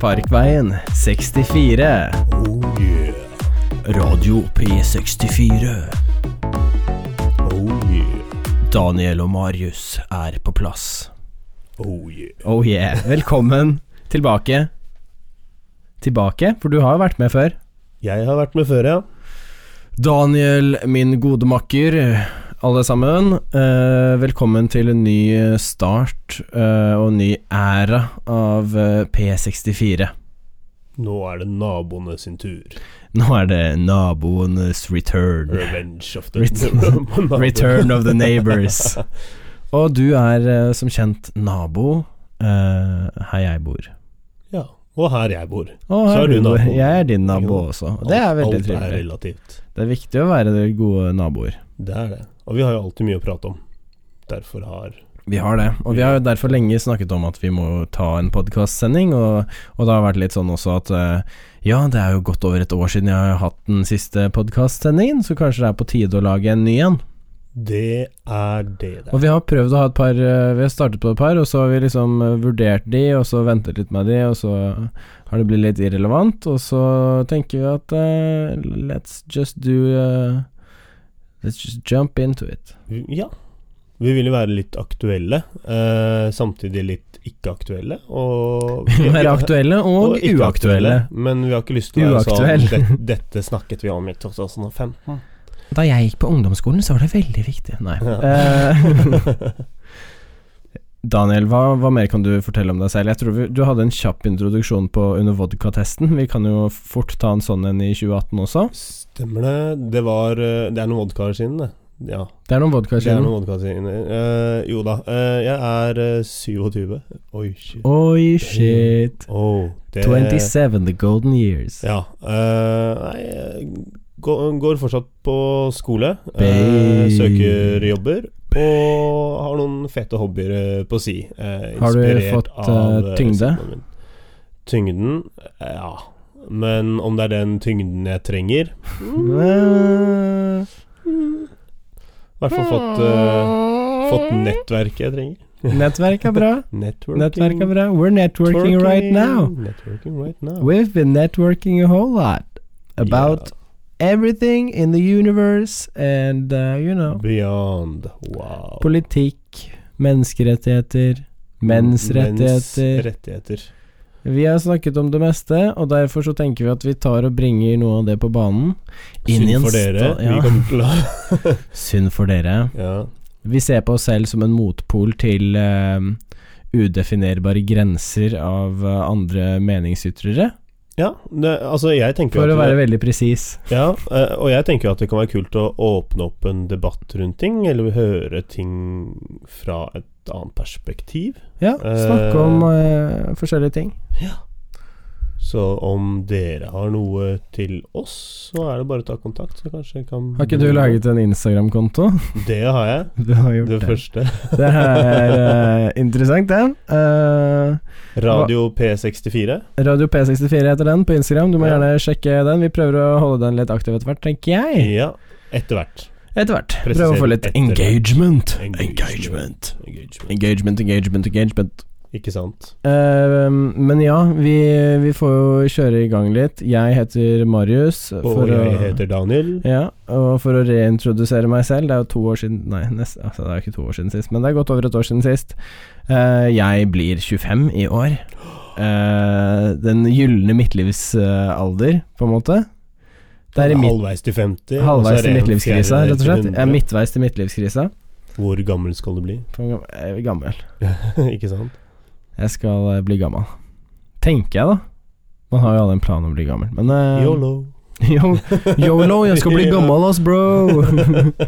Parkveien 64. Oh yeah, Radio P64. oh yeah, Daniel og Marius er på plass. oh yeah. Oh yeah. Velkommen tilbake. Tilbake? For du har jo vært med før. Jeg har vært med før, ja. Daniel, min gode makker, alle sammen. Eh, velkommen til en ny eh, start eh, og en ny æra av eh, P64. Nå er det naboene sin tur. Nå er det naboenes return. Revenge of the Return- Nabo. Return of the neighbors. Og du er eh, som kjent nabo eh, her jeg bor. Ja, og her jeg bor. Og Så her er du bor. nabo. Jeg er din nabo også. Og det er veldig alt er trivelig. relativt. Det er viktig å være de gode naboer. Det er det. Og vi har jo alltid mye å prate om. Derfor har Vi har det, og vi har jo derfor lenge snakket om at vi må ta en podkastsending, og, og det har vært litt sånn også at eh, ja, det er jo godt over et år siden jeg har hatt den siste podkastsendingen, så kanskje det er på tide å lage en ny en. Det er det det Og er. vi har prøvd å ha et par eh, Vi har startet på et par, og så har vi liksom eh, vurdert de, og så ventet litt med de, og så har det blitt litt irrelevant, og så tenker vi at eh, let's just do eh, Let's just jump into it. Ja. Vi vil jo være litt aktuelle, eh, samtidig litt ikke aktuelle. Og Vi må være aktuelle og, ikke uaktuelle. aktuelle, Men vi har ikke lyst til å være Uaktuell. sånn det, Dette snakket vi om i 2015. Da jeg gikk på ungdomsskolen, så var det veldig viktig. Nei. Ja. Eh, Daniel, hva, hva mer kan du fortelle om deg selv? Jeg tror vi, Du hadde en kjapp introduksjon på under vodkatesten. Vi kan jo fort ta en sånn en i 2018 også. Stemmer det. Det var eh, Det er noen vodkaer siden, det. Ja, Det er noen det er vodkaskinn. noen vodkaer siden. Eh, jo da. eh, jeg er eh, 27. Oi, shit. Oi, shit. Oh, det 27, the golden years. Ja. eh, nei, jeg går, går fortsatt på skole. eh, Babe. søker jobber. Og har noen fete hobbyer eh, på si. eh, Har du inspirert fått, eh, av, eh, tyngde? søknaden min. Tyngden? Eh, Ja. Men om det er den tyngden jeg trenger Eh, I hvert fall fått, eh, fått nettverket jeg trenger. Nettverk er bra. Networking. Nettverk er bra. We're networking Twerking. right now. Networking right now. We've been networking a whole lot about everything in the universe and uh, you Yeah. know Beyond. Wow. Politikk, menneskerettigheter, menns rettigheter. Mensrettigheter. Vi har snakket om det meste, og derfor så tenker vi at vi tar og bringer noe av det på banen. Inn i Synd en for dere. sta- Vi Ja. kommer til å Synd for dere. ja. Vi ser på oss selv som en motpol til eh, udefinerbare grenser av eh, andre meningsytrere, ja det, altså, jeg tenker for jo å at være det, veldig presis. ja, eh, Og jeg tenker jo at det kan være kult å åpne opp en debatt rundt ting, eller høre ting fra et annet perspektiv. Ja, snakke om eh, forskjellige ting. Så om dere har noe til oss, så er det bare å ta kontakt, så kanskje jeg kan Har ikke du laget en Instagram-konto? Det har jeg. Du har gjort Det første. Det er eh, interessant, det. Eh, Radio P64. Radio P64 heter den på Instagram. Du må Ja. gjerne sjekke den. Vi prøver å holde den litt aktiv etter hvert, tenker jeg. Ja, etter hvert. Etter hvert. Presiser Prøve å få litt etter hvert. engagement. Engagement. Engagement. Engagement. Engagement, engagement, engagement. Ikke sant? Eh, men ja, vi, vi får jo kjøre i gang litt. Jeg heter Marius. Og jeg heter Daniel. Ja, og for å reintrodusere meg selv, det er jo to år siden Nei, nest, altså det er jo ikke to år siden sist, men det er godt over et år siden sist. Eh, jeg blir 25 i år. Eh, den gylne midtlivsalder, på en måte. Det er i midt, Halvveis til 50. og så halvveis er det til en midtlivskrisa, fjerde rett og slett. Jeg til er 100. midtveis til midtlivskrisa. Hvor gammel skal du bli? For Jeg er gammel. ikke sant? Jeg skal eh, bli gammel. Tenker jeg, da. Man har jo alle en plan om å bli gammel, men eh, Yolo. Yo- Yolo, jeg skal bli Ja. gammel ass, bro.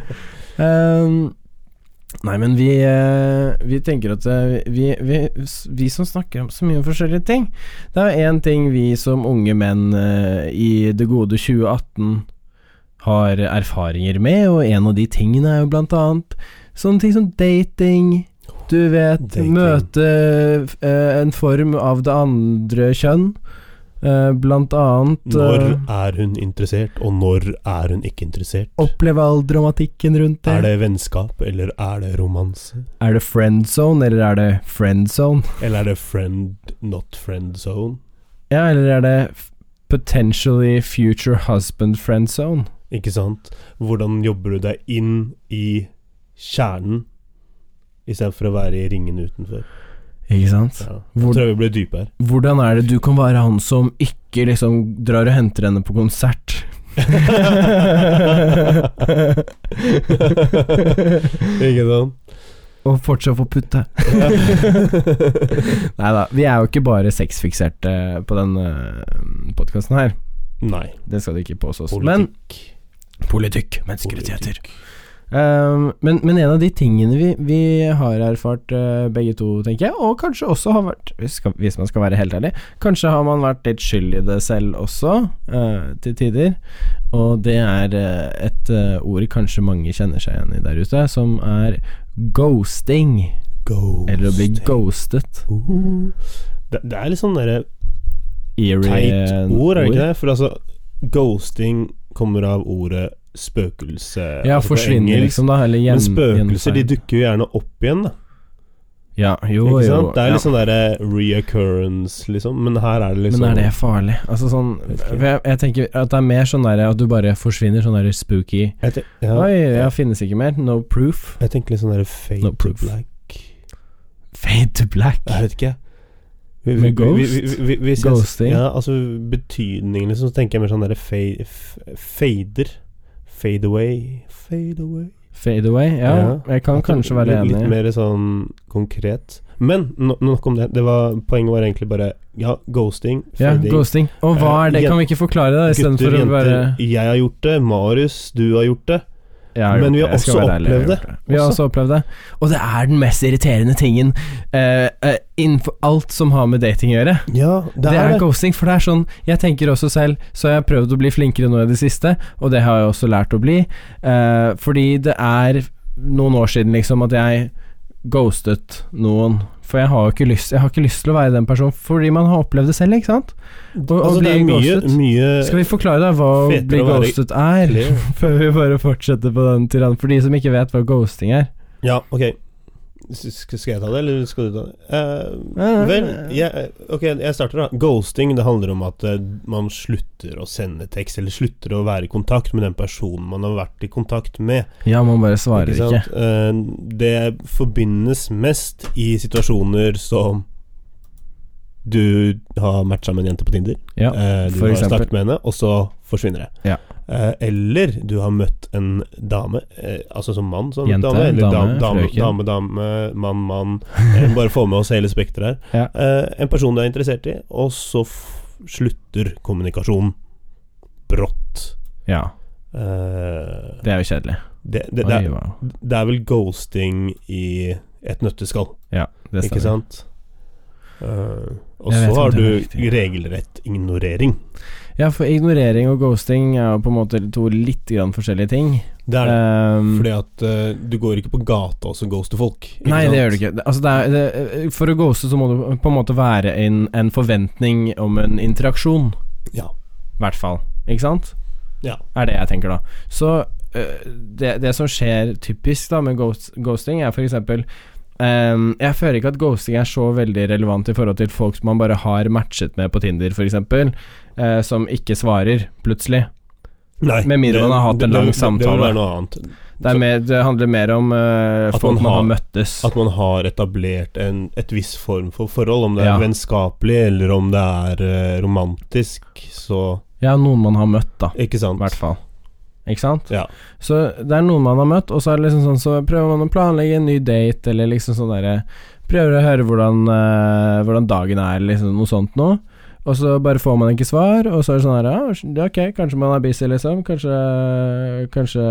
um, nei, men vi eh, Vi tenker at eh, vi, vi, vi som snakker om så mye forskjellige ting Det er én ting vi som unge menn eh, i det gode 2018 har erfaringer med, og en av de tingene er jo blant annet sånne ting som dating. Du vet, Dating. møte eh, en form av det andre kjønn. Eh, blant annet Når eh, er hun interessert, og når er hun ikke interessert? Oppleve all dramatikken rundt det. Er det vennskap, eller er det romanse? Er det friendzone, eller er det friendzone? Eller er det friend, not friend zone? Ja, eller er det f- potentially future husband friend zone? Ikke sant? Hvordan jobber du deg inn i kjernen istedenfor å være i ringen utenfor? Ikke sant? Ja. Hvor- Jeg tror jeg vi blir dype her. Hvordan er det du kan være han som ikke liksom drar og henter henne på konsert? ikke sant? Og fortsatt få putte. Nei da, vi er jo ikke bare sexfikserte på denne podkasten her. Nei. Det skal det ikke påstås. Men Politikk. politikk, menneskerettigheter. Um, men, men en av de tingene vi, vi har erfart eh, begge to, tenker jeg, og kanskje også har vært hvis, skal, hvis man skal være helt ærlig, kanskje har man vært litt skyld i det selv også, eh, til tider. Og det er eh, et eh, ord kanskje mange kjenner seg igjen i der ute, som er ghosting. Ghost. Eller å bli ghostet. Uh. Det, det er litt sånn derre Eerie, teit eh, ord, er det ikke det? For altså, ghosting kommer av ordet spøkelse. Ja, altså på forsvinner engelsk. liksom, da. Eller Men gjen, spøkelser de gjenfeil. dukker jo gjerne opp igjen, da. Ja, jo, ikke jo. sant? Det er ja. litt sånn derre reoccurrence, liksom. Men her er det liksom Men er det farlig? Altså sånn Vet ikke. for jeg, jeg tenker at det er mer sånn der at du bare forsvinner, sånn der spooky Jeg, ten- ja, Oi, jeg finnes ikke mer. No proof. jeg tenker litt sånn derre fade No to proof. black Fade to black. Jeg vet ikke, jeg. Vi- vi- Med vi- vi- ghost? vi- vi- hvis jeg- Ghosting? Ja, altså betydningen, liksom. Så tenker jeg mer sånn derre fa- f- fader. Fade away. Fade away. Fade away. Ja, Ja. jeg kan At det kanskje være blir enig. Litt mer sånn konkret. Men no, nok om det. det var, poenget var egentlig bare ja, ghosting. ja, fading. ghosting. Og hva Eh, er det? Kan vi ikke forklare det, Gutter, istedenfor å jenter. bare Jeg har gjort det. Marius, du har gjort det. Jeg har Men gjort vi har det, jeg skal også være ærlig, jeg har opplevd gjort Vi har også opplevd det. Og det er den mest irriterende tingen eh, eh, innenfor alt som har med dating å gjøre. Ja, Det er ghosting, for det er sånn Jeg tenker også selv, så jeg har prøvd å bli flinkere nå i det siste, og det har jeg også lært å bli. eh, fordi det er noen år siden, liksom, at jeg ghostet noen. For jeg har jo ikke lyst Jeg har ikke lyst til å være den personen, fordi man har opplevd det selv, ikke sant? Og, og altså, det bli er mye, ghostet. mye Skal vi forklare deg hva å Eh, Fetere bli å være- ghostet er, før vi bare fortsetter på den tyrannen? For de som ikke vet hva ghosting er. Ja, ok. S- Skal skal jeg ta det, eller skal du ta det? Eh, Nei, nei, vel, nei. jeg, ok, jeg starter da. Ghosting, det handler om at eh, man slutter å sende tekst, eller slutter å være i kontakt med den personen man har vært i kontakt med. Ja, man bare svarer Ikke ikke. sant? Eh, det forbindes mest i situasjoner som du har matcha med en jente på Tinder. Ja, Eh, du for har eksempel. snakket med henne, og så forsvinner det. Ja. Eh, eller du har møtt en dame, eh, altså som mann, som Jente, dame, eller dame, dam- dame, frøken. dame, dame, mann, mann eh, Bare få med oss hele spekteret Ja. her. Eh, en person du er interessert i, og så f slutter kommunikasjonen brått. Ja, Eh, det er jo kjedelig. det, det, det, Oi, er, wow. det er vel ghosting i et nøtteskall, Ja, det ikke stemmer. sant? Eh, og Jeg vet så om har det er du riktig. regelrett ignorering. Ja, for ignorering og ghosting er jo på en måte to litt grann forskjellige ting. Det er det. Ehm, Fordi at eh, du går ikke på gata og så ghoster folk. Ikke nei, sant? det gjør du ikke. Det- Altså, det er, det, for å ghoste så må du på en måte være en, en forventning om en interaksjon. Ja. I hvert fall. Ikke sant? Ja. Er det jeg tenker, da. Så øh, det, det som skjer typisk da med ghost, ghosting, er f.eks. Um, jeg føler ikke at ghosting er så veldig relevant i forhold til folk som man bare har matchet med på Tinder, f.eks., uh, som ikke svarer plutselig. Nei, Med mindre man har hatt en lang Det vil samtale. være noe annet. Det, er Så- mer, det handler mer om øh, At folk man man har har- møttes. At man har etablert en et viss form for forhold. Om det Ja. er vennskapelig eller om det er eh, romantisk, så Ja, noen man har møtt, da. Ikke sant? I hvert fall. Ikke sant? Ja. Så det er noen man har møtt, og så er det liksom sånn Så prøver man å planlegge en ny date, eller liksom sånn derre Prøver å høre hvordan, eh, hvordan dagen er, eller liksom noe sånt noe. Og så bare får man ikke svar, og så er det sånn her Ja, det er ok, kanskje man er busy, liksom. Kanskje, kanskje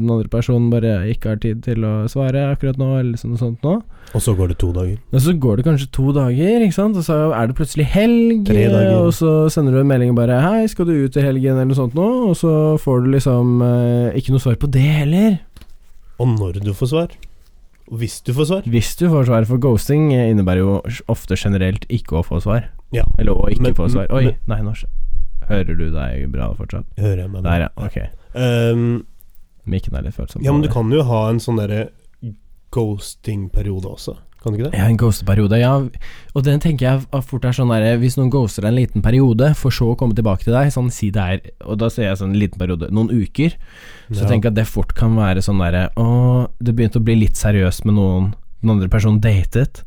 den andre personen bare ikke har tid til å svare akkurat nå, eller liksom noe sånt noe. Og så går det to dager. Men så går det kanskje to dager, ikke sant? og så er det plutselig helg. Tre dager. Og så sender du en melding og bare 'Hei, skal du ut i helgen?' eller noe sånt noe, og så får du liksom eh, ikke noe svar på det heller. Og når du får svar. Og hvis du får svar. Hvis du får svar for ghosting, eh, innebærer jo ofte generelt ikke å få svar. Ja. Eller å ikke Men- få svar. Oi, men- nei, nå sk- hører du deg bra fortsatt? Hører jeg meg Der, ja. Ok. Ehm, Mikken er litt følsom. ja, men på du det. kan jo ha en sånn derre ghosting-periode også. Kan du ikke det? Ja, en ghosteperiode. Ja, og den tenker jeg at fort er sånn der Hvis noen ghoster deg en liten periode, for så å komme tilbake til deg, sånn si det er Og da sier jeg sånn en liten periode, noen uker, så Ja. tenker jeg at det fort kan være sånn derre Å, det begynte å bli litt seriøst med noen den andre personen datet,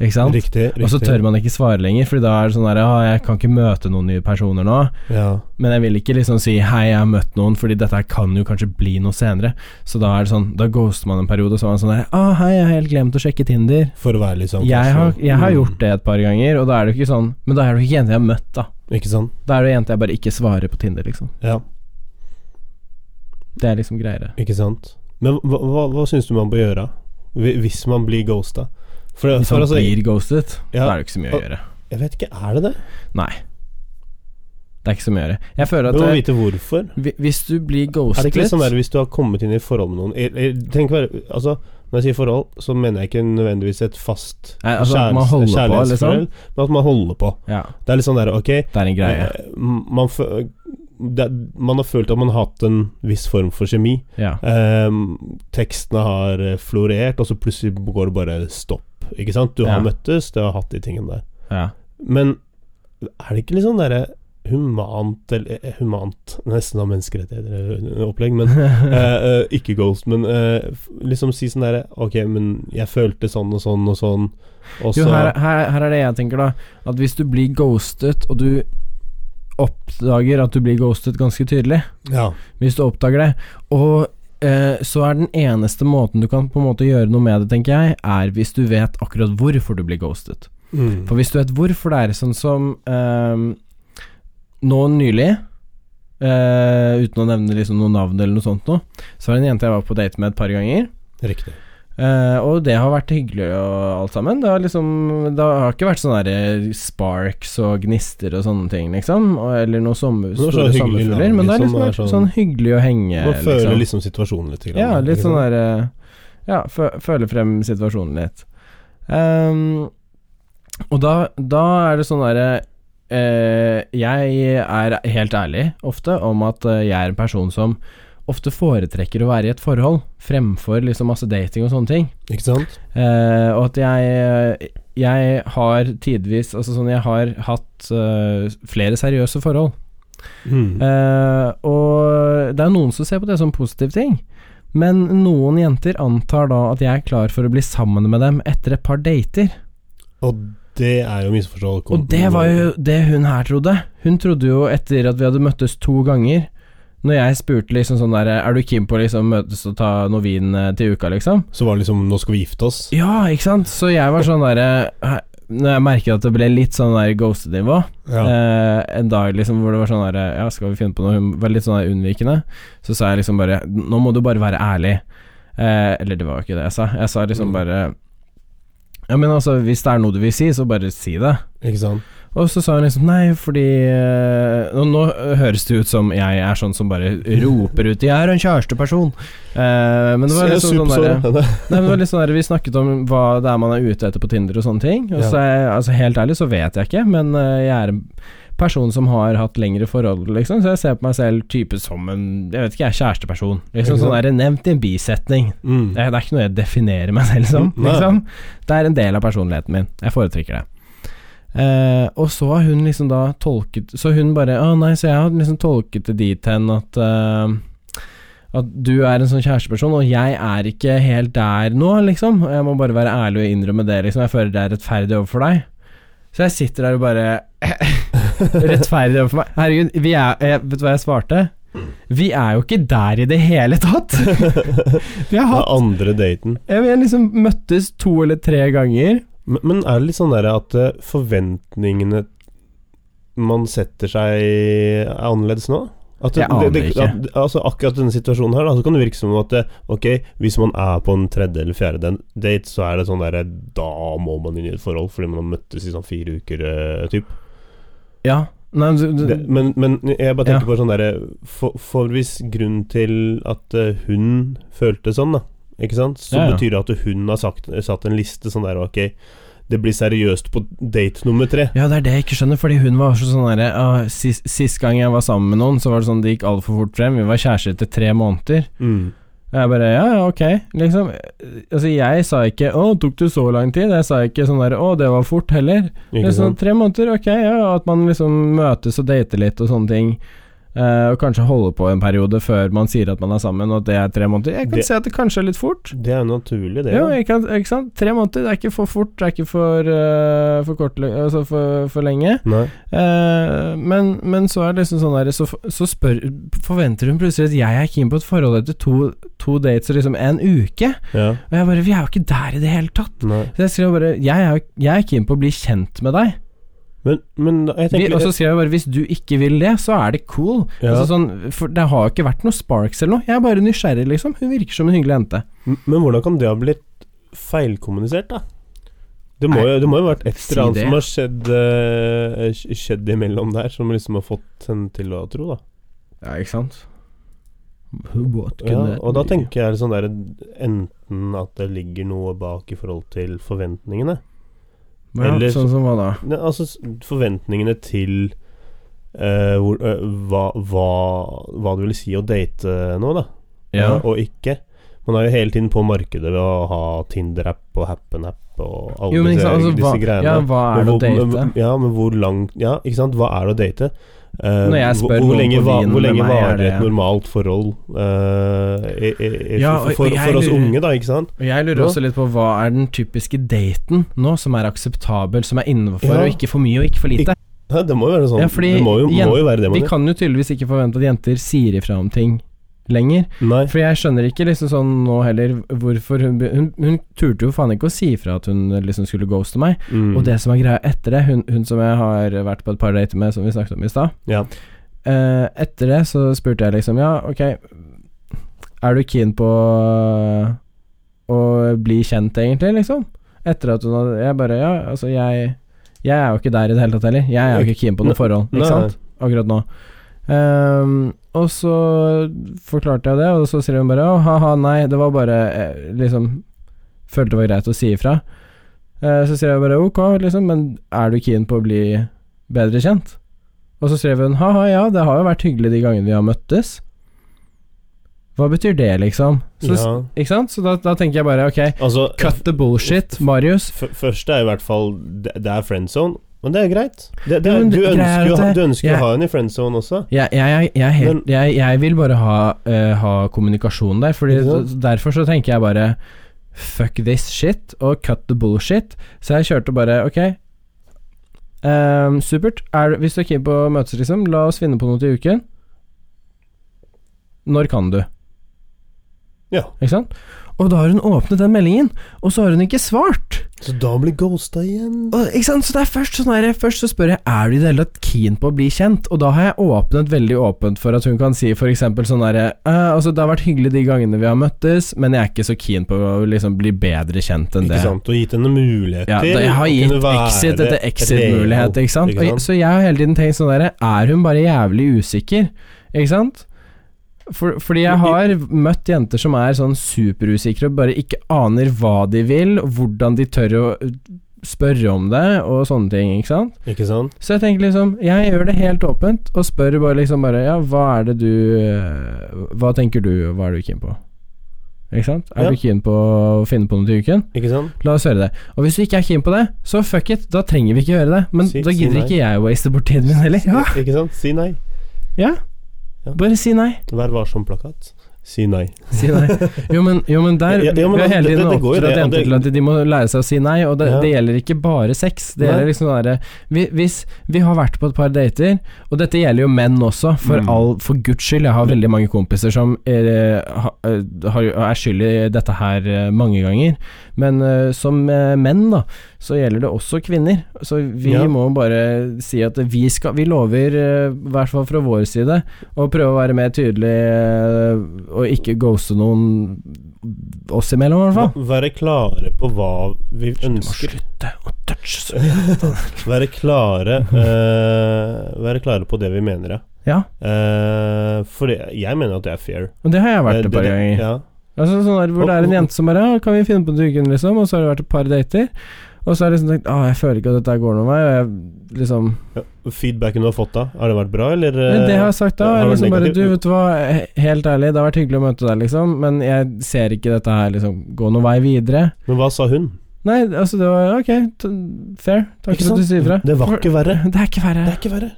ikke sant? Riktig. riktig. Og så tør man ikke svare lenger, Fordi da er det sånn derre Å, jeg kan ikke møte noen nye personer nå. Ja. Men jeg vil ikke liksom si 'hei, jeg har møtt noen', Fordi dette her kan jo kanskje bli noe senere. Så da er det sånn Da ghoster man en periode, og så er man sånn der 'Å, hei, jeg har helt glemt å sjekke Tinder'. For å være litt sånn Jeg har, kanskje- jeg har Mm. gjort det et par ganger, og da er det jo ikke sånn Men da er det jo ikke jente jeg har møtt, da. Ikke sant? Da er det jente jeg bare ikke svarer på Tinder, liksom. Ja. Det er liksom greiere. Ikke sant? Men hva, hva, hva syns du man bør gjøre hvi- hvis man blir ghosta? For, det- Hvis for man altså, blir ghostet, Ja. da er det ikke så mye å gjøre. jeg vet ikke, er det det? Det er ikke så mye å gjøre. Jeg føler Du at må eh, vite hvorfor. hvi- hvis du blir Er det ghostet ikke litt sånn der hvis du har kommet inn i et forhold med noen jeg, jeg, tenk, bare- altså, Når jeg sier forhold, så mener jeg ikke nødvendigvis et fast Nei, altså, at man kjæreste- holder på, liksom. kjærlighetsforhold, Men at man holder på. Ja, Det er litt sånn der Ok, det er en greie. eh, man, fø- det, man har følt at man har hatt en viss form for kjemi. Ja. Ehm, tekstene har eh, florert, og så plutselig går det bare stopp. Ikke sant? Du har Ja. møttes, du har hatt de tingene der. ja. Men er det ikke litt sånn derre humant eller eh, Humant, nesten av menneskerettigheter eller opplegg, men eh, eh, ikke ghost, men eh, f- liksom si sånn derre Ok, men jeg følte sånn og sånn og sånn, og Jo, så her, her, her er det jeg tenker, da. At hvis du blir ghostet, og du oppdager at du blir ghostet ganske tydelig, Ja. hvis du oppdager det. Og eh, så er den eneste måten du kan på en måte gjøre noe med det, tenker jeg, er hvis du vet akkurat hvorfor du blir ghostet. Mm. For hvis du vet hvorfor det er sånn som eh, nå nylig eh, uten å nevne liksom noe navn eller noe sånt noe, så var det en jente jeg var på date med et par ganger. Riktig. eh, og det har vært hyggelig og alt sammen. Det har liksom Det har ikke vært sånne der sparks og gnister og sånne ting, liksom. Og, eller noen sommer, Det var så store hyggelig sommerfugler. navn, Men det har liksom, liksom det er vært sånn- sånn hyggelig å henge. Man føler liksom situasjonen litt. Grann, liksom. Ja, litt ikke sånn sant? der eh, Ja, fø føle frem situasjonen litt. Ehm, og da, da er det sånn derre eh, Jeg er helt ærlig ofte om at eh, jeg er en person som ofte foretrekker å være i et forhold fremfor liksom masse dating og sånne ting. Ikke sant? Eh, og at jeg Jeg har tidvis Altså sånn, jeg har hatt eh, flere seriøse forhold. Mm. Eh, og det er noen som ser på det som positiv ting. Men noen jenter antar da at jeg er klar for å bli sammen med dem etter et par dater. Og det er jo misforstått. Og det var jo det hun her trodde. Hun trodde jo etter at vi hadde møttes to ganger Når jeg spurte liksom sånn der Er du keen på å liksom møtes og ta noe vin eh, til uka, liksom? Så var det liksom Nå skal vi gifte oss. Ja, ikke sant? Så jeg var sånn derre hæ- Når jeg merket at det ble litt sånn der ghosted-nivå, Ja. Eh, en dag liksom hvor det var sånn der Ja, skal vi finne på noe? Hun var litt sånn der unnvikende. Så sa jeg liksom bare Nå må du bare være ærlig. Eh, eller det var jo ikke det jeg sa. Jeg sa liksom Mm. bare Ja, men altså, hvis det er noe du vil si, så bare si det. Ikke sant. Og så sa hun liksom nei, fordi eh, Og nå høres det ut som jeg er sånn som bare roper ut 'Jeg er en kjæresteperson'. Eh, men det var liksom sånn derre Nei, men det var litt sånn der, Vi snakket om hva det er man er ute etter på Tinder og sånne ting. Og Ja. så er jeg, altså Helt ærlig så vet jeg ikke, men eh, jeg er en person som har hatt lengre forhold, liksom. Så jeg ser på meg selv type som en Jeg vet ikke, jeg er kjæresteperson. Ikke Liksom sant? sånn er det nevnt i en bisetning. Eh, Mm. Det er, det er ikke noe jeg definerer meg selv som. Mm, nei. Liksom. Det er en del av personligheten min. Jeg foretrekker det. Eh, og så har hun liksom da tolket Så hun bare Å nei, så jeg har liksom tolket det dit hen at eh, At du er en sånn kjæresteperson, og jeg er ikke helt der nå, liksom. Jeg må bare være ærlig og innrømme det, liksom. Jeg føler det er rettferdig overfor deg. Så jeg sitter der og bare Rettferdig overfor meg. Herregud, vi er, eh, vet du hva jeg svarte? Vi er jo ikke der i det hele tatt! Vi har Den hatt andre daten. jeg har liksom møttes to eller tre ganger. Men, men er det litt sånn der at eh, forventningene man setter seg er annerledes nå? At Jeg aner At, altså akkurat denne situasjonen her, da, så kan det virke som at eh, ok, hvis man er på en tredje eller fjerde den- date, så er det sånn derre Da må man inn i et forhold fordi man har møttes i sånn fire uker, eh, typ. Ja. Nei, du, du, Det, men, men jeg bare Ja. tenker på sånn derre for, for hvis grunnen til at eh, hun følte sånn, da, ikke sant, så Ja, ja. betyr det at hun har sagt, satt en liste sånn der Ok, det blir seriøst på date nummer tre. ja, det er det jeg ikke skjønner, fordi hun var så sånn derre ah, sist, sist gang jeg var sammen med noen, så var det sånn det gikk altfor fort frem. Vi var kjærester etter tre måneder. Og jeg bare ja, ja, ok, liksom. Altså, jeg sa ikke 'Å, tok det så lang tid?' Jeg sa ikke sånn der 'Å, det var fort', heller. Ikke Liksom, sant? tre måneder, ok, ja, og at man liksom møtes og dater litt og sånne ting. eh, og kanskje holde på en periode før man sier at man er sammen, og at det er tre måneder. Jeg kan Det- se at det kanskje er litt fort. Det er jo naturlig, det. Jo, da. jeg kan, ikke sant? Tre måneder, det er ikke for fort, det er ikke for, eh, for kort, altså for, for lenge. Nei. Eh, men, men så er det liksom sånn der, så, så spør, forventer hun plutselig at jeg er keen på et forhold etter to, to dates og liksom en uke. Ja. Og jeg bare, vi er jo ikke der i det hele tatt. Nei. Så jeg skrev bare, jeg er, jeg er keen på å bli kjent med deg. Men, men da- jeg Vi, tenker og så skrev jeg bare hvis du ikke vil det, så er det cool. Ja. Altså sånn, for det har jo ikke vært noe sparks eller noe. Jeg er bare nysgjerrig, liksom. Hun virker som en hyggelig jente. eh, M- Men hvordan kan det ha blitt feilkommunisert, da? Det må, jo, det må jo ha vært et Si eller annet det. som har skjedd, eh, sk- skjedd imellom der, som liksom har fått henne til å tro, da. Ja, ikke sant? What Ja, og da tenker jeg sånn der enten at det ligger noe bak i forhold til forventningene. ja, eller- Sånn som hva da? Ne, altså s- forventningene til eh, hvor, eh, hva, hva, hva det vil si å date nå, da. Ja. og ikke. Man er jo hele tiden på markedet ved å ha Tinder-app og Happen-app og alle Jo, men ikke disse, sant, altså, hva, disse greiene. ja, hva er det å Men hvor- date? men- Ja, men hvor lang Ja, ikke sant, hva er det å date? Eh, Når jeg hvor- spør hvor, noen lenge, på va- byen hvor med lenge meg, er varer det- et normalt forhold eh, i- i- i- Ja, for, og- for, og jeg for oss lurer- unge, da, ikke sant? Og jeg lurer Ja. også litt på hva er den typiske daten nå som er akseptabel, som er innenfor, Ja. og ikke for mye og ikke for lite? Ja, det må jo være sånn. Ja, fordi det må jo, igjen, må jo være det man Vi gjør. kan jo tydeligvis ikke forvente at jenter sier ifra om ting lenger. Nei. For jeg skjønner ikke liksom sånn nå heller hvorfor hun be- Hun, hun turte jo faen ikke å si ifra at hun liksom skulle ghoste meg. Mm. Og det som er greia etter det Hun, hun som jeg har vært på et par dater med, som vi snakket om i stad Ja. eh, Etter det så spurte jeg liksom Ja, ok, er du keen på eh, å bli kjent, egentlig, liksom? Etter at hun hadde Jeg bare Ja, altså, jeg Jeg er jo ikke der i det hele tatt heller. Jeg er jo ikke keen på noe forhold, Nei. ikke sant? akkurat nå. Ehm, og så forklarte jeg det, og så sier hun bare «Å, ha-ha, nei, det var bare eh, liksom Følte det var greit å si ifra. Eh, så sier jeg bare ok, liksom, men er du keen på å bli bedre kjent? Og så skrev hun ha-ha, ja, det har jo vært hyggelig de gangene vi har møttes. Hva betyr det, liksom? Så, ja. Ikke sant? Så da, da tenker jeg bare ok, Altså, cut the bullshit, Marius. f første er i hvert fall Det, det er friendzone, men det er greit. Det, det, Ja, er- men du, det- greia er ønsker, jo at ha- det- du ønsker jeg- å ha en i friendzone også. Jeg, jeg, jeg, jeg, er helt, jeg, jeg vil bare ha, eh, ha kommunikasjon der, fordi Ikke sant? derfor så tenker jeg bare Fuck this shit og cut the bullshit. Så jeg kjørte bare Ok, ehm, supert. Er, hvis du er keen på å møtes, liksom, la oss finne på noe til uken. Når kan du? Ja. Ikke sant? Og da har hun åpnet den meldingen, og så har hun ikke svart. Så da blir ghosta igjen. Og, ikke sant? Så det er først sånn her Først så spør jeg Er du i det hele tatt keen på å bli kjent Og da har jeg åpnet veldig åpent For at hun kan si for eksempel sånn her «Eh, Altså det har vært hyggelig de gangene vi har møttes Men jeg er ikke så keen på å liksom bli bedre kjent enn Ikke det sant, og gitt henne mulighet ja, til da jeg har å kunne gitt være exit etter exit-mulighet, real, ikke sant? ikke sant? Og, så jeg har hele tiden tenkt sånn der Er hun bare jævlig usikker? Ikke sant? For, fordi jeg har møtt jenter som er sånn superusikre og bare ikke aner hva de vil, og hvordan de tør å spørre om det, og sånne ting, ikke sant? Ikke sant? Så jeg tenker liksom Jeg gjør det helt åpent og spør bare liksom bare Ja, hva er det du eh, Hva tenker du, og hva er du keen på? Ikke sant? Er Ja. du keen på å finne på noe til uken? Ikke sant? La oss høre det. Og hvis du ikke er keen på det, så fuck it, da trenger vi ikke gjøre det. Men Si- da si gidder nei. ikke jeg å waste bort tiden min heller. Ja. Ikke sant? Si nei. ja. Ja. Bare si nei. Vær varsom-plakat. Si nei. Si nei. Jo, men, jo, men der Ja, ja, men vi har altså, hele det- tiden det- det går jo oppdratt det, og jenter det- til at de må lære seg å si nei, og det, Ja. det gjelder ikke bare sex. Det Nei. gjelder liksom sånn derre vi- Hvis vi har vært på et par dater, og dette gjelder jo menn også, for Mm. all For guds skyld, jeg har Men- veldig mange kompiser som er, har, er skyld i dette her eh, mange ganger, men eh, som eh, menn, da, så gjelder det også kvinner. Så vi Ja. må bare si at vi skal Vi lover, eh, i hvert fall fra vår side, å prøve å være mer tydelig eh, og ikke ghoste noen oss imellom, i hvert fall. Va- Være klare på hva vi Du må ønsker. slutte å touche så Være klare eh, Være klare på det vi mener, ja. Ja, Eh, for det, jeg mener at det er fair. og det har jeg vært Eh, et par det- ganger. Ja. Altså sånn der, Hvor det er en jente som bare «Ja, 'Kan vi finne på det uken', liksom, og så har det vært et par dater. Og så har jeg liksom tenkt Åh, jeg føler ikke at dette går noen vei. Og jeg liksom Ja. Feedbacken du har fått da, har det vært bra, eller? Men det har jeg sagt da. Eh, har Jeg vært liksom bare, negativt. du vet du hva, helt ærlig, det har vært hyggelig å møte deg, liksom, men jeg ser ikke dette her liksom gå noen vei videre. eh, Men hva sa hun? Nei, altså det var ok, t fair. Takk Ikke for at du sant? sier fra. Det var For- ikke verre. Det er ikke verre. Det er ikke verre.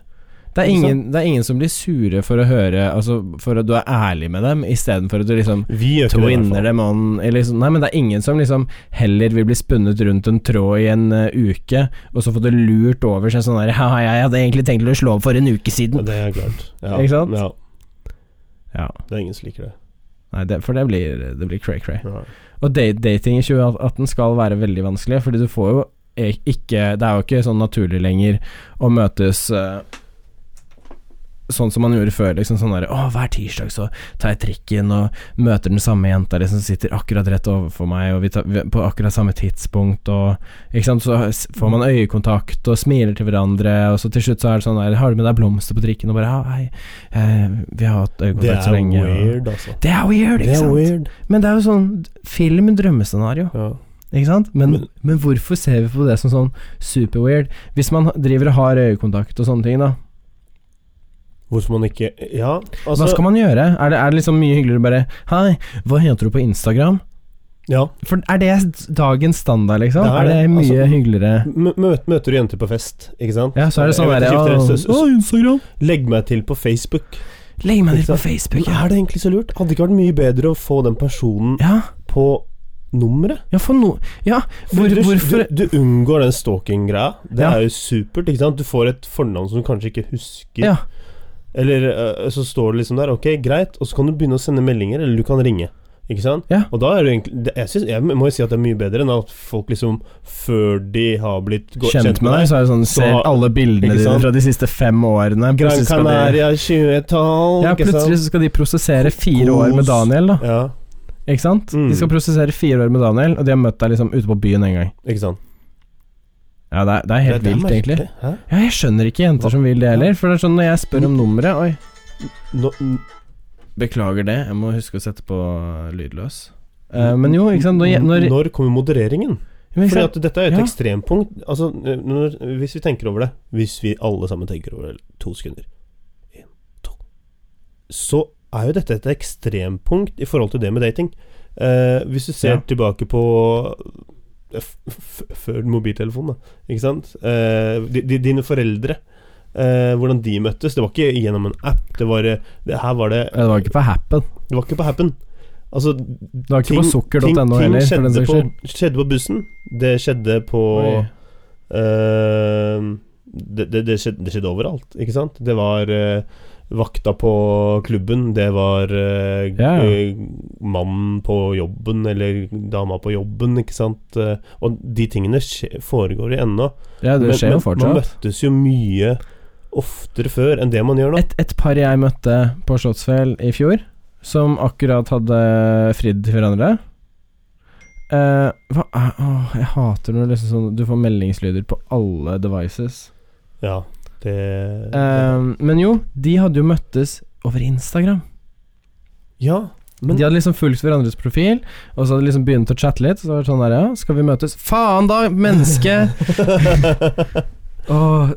Det er, ikke ingen, det er ingen som blir sure for å høre Altså for at du er ærlig med dem, istedenfor at du liksom Vi gjør ikke det. i hvert Twinner fall. dem on eller liksom, Nei, men det er ingen som liksom heller vil bli spunnet rundt en tråd i en eh, uke, og så få det lurt over seg sånn der Haha, jeg hadde egentlig tenkt å slå opp for en uke Ja, siden. det er klart. Ja. Ikke sant? Ja, Ja. det er ingen som liker det. Nei, det, for det blir det blir cray-cray. Ja. Og da- dating i 2018 skal være veldig vanskelig, fordi du får jo e- ikke Det er jo ikke sånn naturlig lenger å møtes eh, sånn som man gjorde før. Liksom sånn der, Å, hver tirsdag så tar jeg trikken og møter den samme jenta liksom, som sitter akkurat rett overfor meg, og vi tar, vi, på akkurat samme tidspunkt, og ikke sant? Så s- får man øyekontakt og smiler til hverandre, og så til slutt så er det sånn der Har du med deg blomster på trikken? Og bare «Ja, Hei, eh, vi har hatt Det øyekontakt så er lenge. og- weird, altså. Det er weird, ikke Det er sant? weird. Men det er jo sånn film drømmescenario, Ja. ikke sant? Men, Men- men hvorfor ser vi på det som sånn superweird? Hvis man driver og har øyekontakt og sånne ting, da. Hvorfor man ikke Ja, altså hva skal man gjøre? Er det, er det liksom mye hyggeligere å bare Hei, hva heter du på Instagram? Ja. For er det dagens standard, liksom? Det er er, det det. mye Altså- hyggeligere M- mø- Møter du jenter på fest, ikke sant? Ja, så er det sånn Jeg vet derre ikke Å, om det er- å, Instagram. Legg meg til på Facebook. Legg meg Ikke til på sant? Facebook. Men Ja. er det egentlig så lurt? Hadde det ikke vært mye bedre å få den personen Ja, på nummeret? ja, for no... Ja, For hvor, du, hvorfor Du, du unngår den stalking-greia. Det Ja. er jo supert. ikke sant? Du får et fornavn som du kanskje ikke husker. Ja. Eller øh, så står det liksom der, ok, greit, og så kan du begynne å sende meldinger, eller du kan ringe. Ikke sant? Ja. Og da er det egentlig det, jeg, synes, jeg må jo si at det er mye bedre enn at folk liksom, før de har blitt gå- Kjent med deg, så er det sånn så- Ser alle bildene dine ikke sant? fra de siste fem årene. Gran plutselig skal de- Canaria 2012, Ja, ikke sant? plutselig så skal de prosessere fire Kos. år med Daniel, da. Ja, Ikke sant? Mm. De skal prosessere fire år med Daniel, og de har møtt deg liksom ute på byen en gang. ikke sant? Ja, det er, det er helt Det- det er vilt, egentlig. merkelig. Hæ? Ja, jeg skjønner ikke jenter som vil det heller, for det er sånn når jeg spør om nummeret Oi. Nå, Beklager det, jeg må huske å sette på lydløs. Eh, men jo, ikke sant Når, jeg- når, når kommer modereringen? men ikke Fordi sant? at dette er jo et Ja. ekstrempunkt. Altså, når, hvis vi tenker over det Hvis vi alle sammen tenker over det to sekunder En, to Så er jo dette et ekstrempunkt i forhold til det med dating. Eh, hvis du ser Ja. tilbake på eh, f f Før mobiltelefonen, da. Ikke sant? Eh, di- di- dine foreldre. eh, hvordan de møttes. Det var ikke gjennom en app. Det var, eh, det, her var det Ja, Det var ikke på Happen. Det var ikke på Happen. Altså, Det var ikke Ting- på sukker.no heller, for ting den skjedde saks på, skyld. skjedde på bussen. Det skjedde på Oi. eh, det, det, det, skjedde, det skjedde overalt, ikke sant? Det var eh, vakta på klubben, det var eh, Ja, ja. eh, mannen på jobben eller dama på jobben, ikke sant? Eh, og de tingene skje, foregår jo ennå. Ja, det Men- skjer jo men Man fortsatt. møttes jo mye oftere før enn det man gjør nå. Et, et par jeg møtte på Slottsfjell i fjor, som akkurat hadde fridd til hverandre. Eh, hva er åh, Jeg hater når det liksom sånn du får meldingslyder på alle devices. Ja, det, Eh, men jo, de hadde jo møttes over Instagram. Ja, men de hadde liksom fulgt hverandres profil, og så hadde de liksom begynt å chatte litt. Så var det sånn der, ja, skal vi møtes? Faen da, menneske! Åh,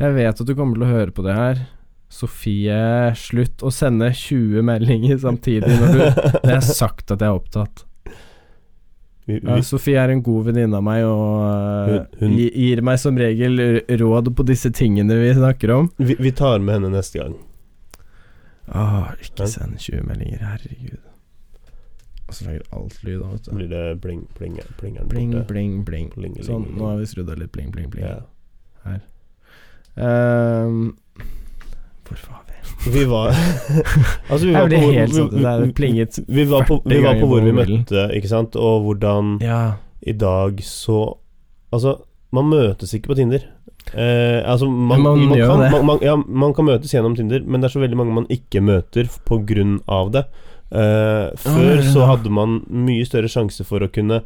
jeg vet at du kommer til å høre på det her. Sofie, slutt å sende 20 meldinger samtidig når du Det har jeg sagt at jeg er opptatt. vi, Ja, vi, Sofie er en god venninne av meg og øh, Hun- hun- gi- gir meg som regel r- råd på disse tingene vi snakker om. Vi, vi tar med henne neste gang. Åh, Ah, ikke Ja. send 20 meldinger, herregud. Og så lager alt lyd av, Så vet du. blir det pling, pling, plingeren Bling, borte. bling, bling. Pling, pling, Sånn, pling. nå har vi skrudd av litt bling, bling, bling. ja. Ehm, hvorfor har vi Vi var Altså, vi Jeg var blir på hvor- helt sånn vi- Det er vi- plinget Vi var på, vi 40 var ganger på hvor på vi mobilen. møtte, ikke sant, og hvordan Ja. i dag så Altså, man møtes ikke på Tinder. Eh, altså, Men man, man gjør kan, det. Man, man, ja, man kan møtes gjennom Tinder, men det er så veldig mange man ikke møter på grunn av det. Eh, før ja, ja. så hadde man mye større sjanse for å kunne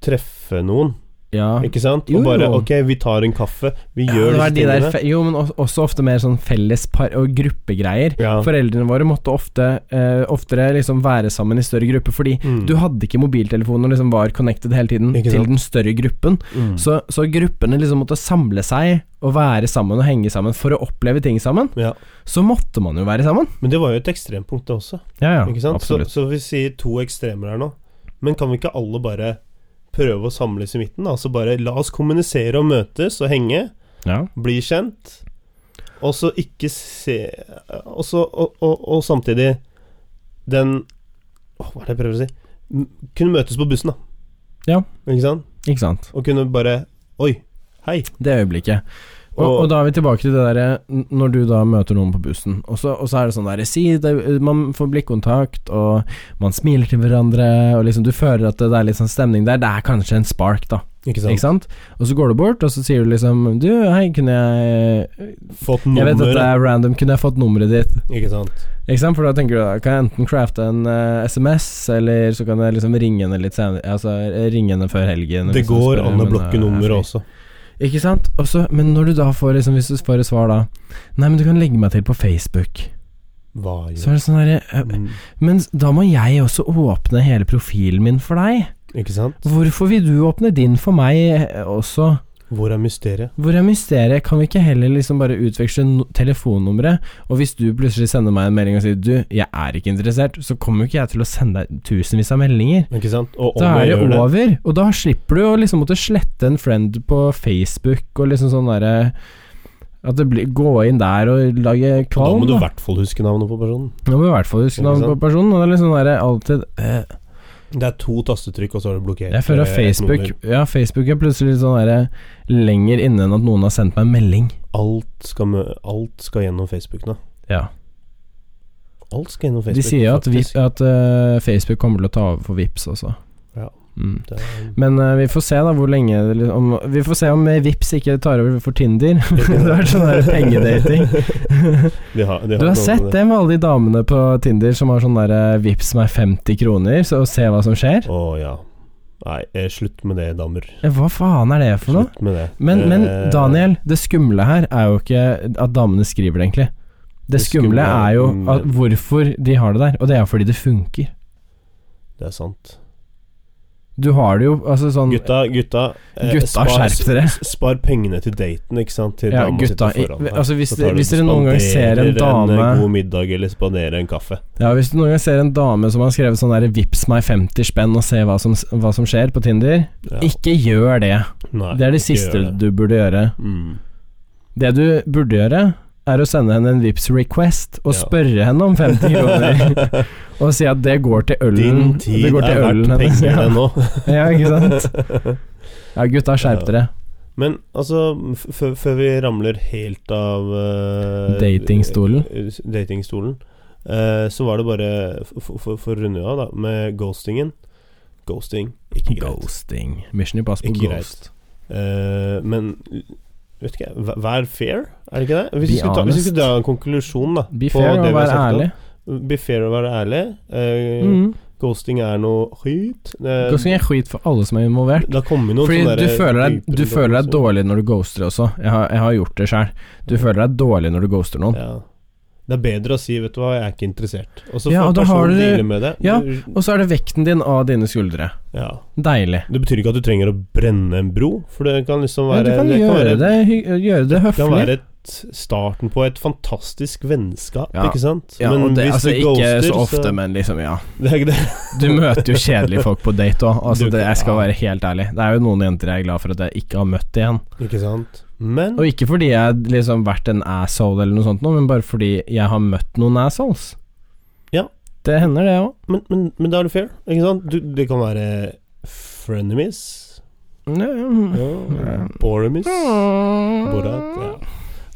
treffe noen. Ja. Ikke sant? Ah. Jo, Og bare jo. ok, vi tar en kaffe, vi Ja, gjør det var disse de der tingene. fe jo, men o- også ofte mer sånn fellespar og gruppegreier. Ja. Foreldrene våre måtte ofte eh, oftere liksom være sammen i større grupper, fordi Mm. du hadde ikke mobiltelefonen og liksom var connected hele tiden Ikke til sant? den større gruppen. Mm. Så, så gruppene liksom måtte samle seg og være sammen og henge sammen for å oppleve ting sammen. Ja. Så måtte man jo være sammen. Men det var jo et ekstrempunkt, det også. Ja, ja, ikke sant? Så, absolutt. så vi sier to ekstremer her nå. Men kan vi ikke alle bare prøve å samles i midten? da? Altså bare la oss kommunisere og møtes og henge, Ja. bli kjent, og så ikke se Og, så, og, og, og samtidig den åh, Hva er det jeg prøver å si? M- Kunne møtes på bussen, da. Ja. Ikke sant? Ikke sant. Og kunne bare Oi, hei. Det øyeblikket. Og, Og- og, da er vi tilbake til det derre n- når du da møter noen på bussen, og så, og så er det sånn derre si det, Man får blikkontakt, og man smiler til hverandre, og liksom du føler at det, det er litt sånn stemning der. Det er kanskje en spark, da. Ikke Ikke sant? Og så går du bort, og så sier du liksom Du, hei, kunne jeg Fått Jeg vet at det nummeret. er random, kunne jeg fått nummeret ditt? Ikke sant. Ikke sant? For da tenker du da kan jeg enten crafte en eh, SMS, eller så kan jeg liksom ringe henne litt senere Altså ringe henne før helgen. Det hvis hun går spør, an å men, eh, blokke er fri. nummeret også. Ikke sant? Og så- men når du da får liksom, Hvis du får et svar da Nei, men du kan legge meg til på Facebook Hva Så gjør er det sånn der eh, Mm, Men da må jeg også åpne hele profilen min for deg Ikke sant? Hvorfor vil du åpne din for meg eh, også? Hvor er mysteriet? Hvor er mysteriet? Kan vi ikke heller liksom bare utveksle no telefonnumre? Og hvis du plutselig sender meg en melding og sier Du, jeg er ikke interessert Så kommer jo ikke jeg til å sende deg tusenvis av meldinger Ikke sant? Og om Da er jeg det gjør det over, og da slipper du å liksom måtte slette en friend på Facebook og liksom sånn derre At det blir Gå inn der og lage og Da kvalm. må du i da. hvert fall huske navnet på personen. Da må du i hvert fall huske Ikke navnet på sant? personen. Og det er liksom derre alltid eh, Det er to tastetrykk, og så har du blokkert Jeg føler eh, at et Facebook nummer. Ja, Facebook er plutselig litt sånn derre lenger inne enn at noen har sendt meg en melding. Alt skal, mø alt skal gjennom Facebook nå. Ja. Alt skal gjennom De Facebook. sier at, vi, faktisk. at eh, Facebook kommer til å ta over for Vips også. Ja. Mm. Det er- Men eh, vi får se da hvor lenge det liksom- om, Vi får se om eh, Vips ikke tar over for Tinder. det har vært sånn der pengedating. de har, de Du har noe sett med det med alle de damene på Tinder som har sånn derre vips meg 50 kroner, så se hva som skjer? Å ja. Nei, eh, slutt med det, damer. Eh, Hva faen er det for noe? Slutt med det. Men, men Eh, Daniel, det skumle her er jo ikke at damene skriver det, egentlig. Det Det skumle skumle er jo er- at hvorfor de har det der, og det er fordi det funker. Det er sant. Du har det jo altså sånn Gutta, gutta, eh, Gutta, skjerp dere! Spar pengene til daten, ikke sant? Til Ja, dama gutta. sitter foran i- deg. Altså, hvis, Så tar du hvis og dere noen gang ser en spanderer dame En eh, god middag eller spanderer en kaffe. Ja, hvis du noen gang ser en dame som har skrevet sånn der 'vips meg 50 spenn' og se hva som, hva som skjer på Tinder, Ja. ikke gjør det. Nei, Det er det ikke gjør siste det. du burde gjøre. Mm. Det du burde gjøre, er å sende henne en Vipps request og Ja. spørre henne om 50 kroner. og si at det går til ølen. Din tid det går er til ølen verdt hennes. pengene nå. Ja. ja, ikke sant? Ja, gutta, skjerp Ja. dere. Men altså, f- før før vi ramler helt av eh, Datingstolen. eh, s- Datingstolen. eh, så var det bare, f- f- for for å runde av, da, med ghostingen. Ghosting, ikke greit. Ghosting. Mission Impossible Ikke Ghost. Eh, men vet ikke, jeg, vær- vær fair, er det ikke det? Hvis Be vi skulle ta, hvis vi honest. skulle dra en konklusjon, da. Be på fair det og vi har vær snakket om. ærlig. Be fair og være ærlig. Eh, Mm. Ghosting er noe skit. Eh, Ghosting er skit for alle som er involvert. Det har kommet noen Fordi sånne du der føler, deg, typer du føler deg som- dårlig når du ghoster også. Jeg har, jeg har gjort det sjøl. Du føler deg dårlig når du ghoster noen. Ja. Det er bedre å si 'vet du hva, jeg er ikke interessert', og så Ja, får og da har personen du- deale med det. Ja. Du- Og så er det vekten din av dine skuldre. ja. Deilig. Det betyr ikke at du trenger å brenne en bro, for det kan liksom Ja, være du kan det gjøre være, det, hy- gjøre det kan høflig. være et starten på et fantastisk vennskap, Ja. ikke sant? Ja, og det, altså, ikke så ofte, så- men liksom, ja. Det er ikke det. Du møter jo kjedelige folk på date òg. Altså, Du- det- jeg skal ja. være helt ærlig. Det er jo noen jenter jeg er glad for at jeg ikke har møtt igjen. Ikke sant? Men Og ikke fordi jeg har liksom vært en asshole eller noe sånt, nå, men bare fordi jeg har møtt noen assholes. Ja. Det hender, det òg. Men, men, men da er det fair, ikke sant? Du, det kan være frenemies, Ja. ja. boremies Mm. Borat, ja.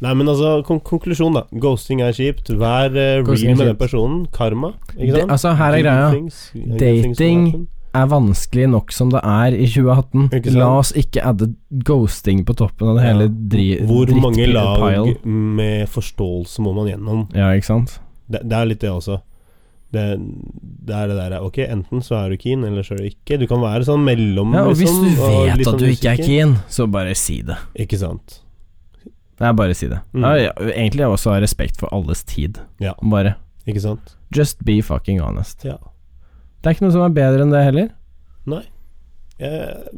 Nei, men altså, kon konklusjon, da. Ghosting er kjipt. Vær Ghosting er eh, real med kjipt. den personen. Karma, ikke Det, sant? altså, her er Good greia. things- good things sånn. Dating- happen. Er vanskelig nok som det er i 2018. Ikke sant? La oss ikke adde ghosting på toppen av det hele dri Hvor mange lag drittpile. med forståelse må man gjennom? Ja, ikke sant? Det, det er litt det også. Det, det er det der Ok, enten så er du keen, eller så er du ikke. Du kan være sånn mellom, Ja, og hvis liksom, du og litt vet sånn at du ikke er usikker. keen, så bare si det. Ikke sant. Nei, bare si det. Mm. Ja, ja, egentlig jeg også har respekt for alles tid. Ja. Bare Ikke sant. just be fucking honest. Ja. Det er ikke noe som er bedre enn det heller. Jeg,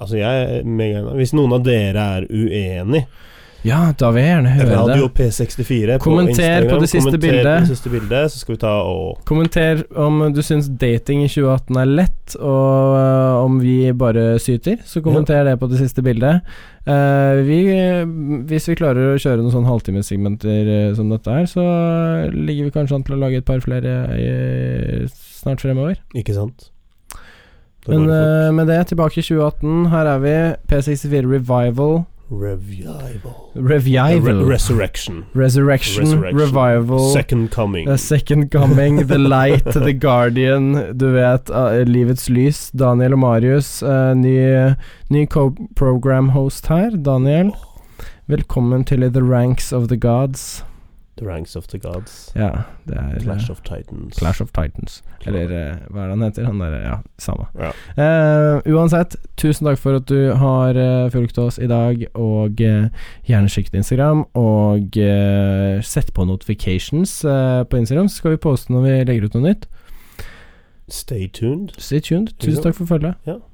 altså, jeg er megaenig. Hvis noen av dere er uenig Ja, da vil jeg gjerne høre Radio det. P64 på Kommenter Instagram, på det siste kommenter bildet. På det siste bildet. Så skal vi ta og Kommenter om du syns dating i 2018 er lett, og øh, om vi bare syter. Så kommenter det på det siste bildet. Eh, vi, hvis vi klarer å kjøre noen sånn halvtimesegmenter eh, som dette her, så ligger vi kanskje an til å lage et par flere eh, snart fremover. Ikke sant. Da Men går det fort. eh, med det, tilbake i 2018. Her er vi. P64 Revival. Revival. Revival. Re resurrection. Resurrection, Resurrection. Revival. Second coming. The Second Coming, The Light, The Guardian, du vet, eh, Livets Lys, Daniel og Marius. eh, ny ny co-program-host her, Daniel. Velkommen til The Ranks of the Gods. The ranks of the gods. Ja, det er eh, Clash of Titans. Clash of Titans. Eller eh, hva er det han heter? Han derre Ja, samme. Ja. Eh, uansett, tusen takk for at du har eh, fulgt oss i dag, og eh, gjerne sjekk ut Instagram. Og eh, sett på notifications eh, på Instagram, så skal vi poste når vi legger ut noe nytt. Stay tuned. Stay tuned. Tusen takk for følget. Ja.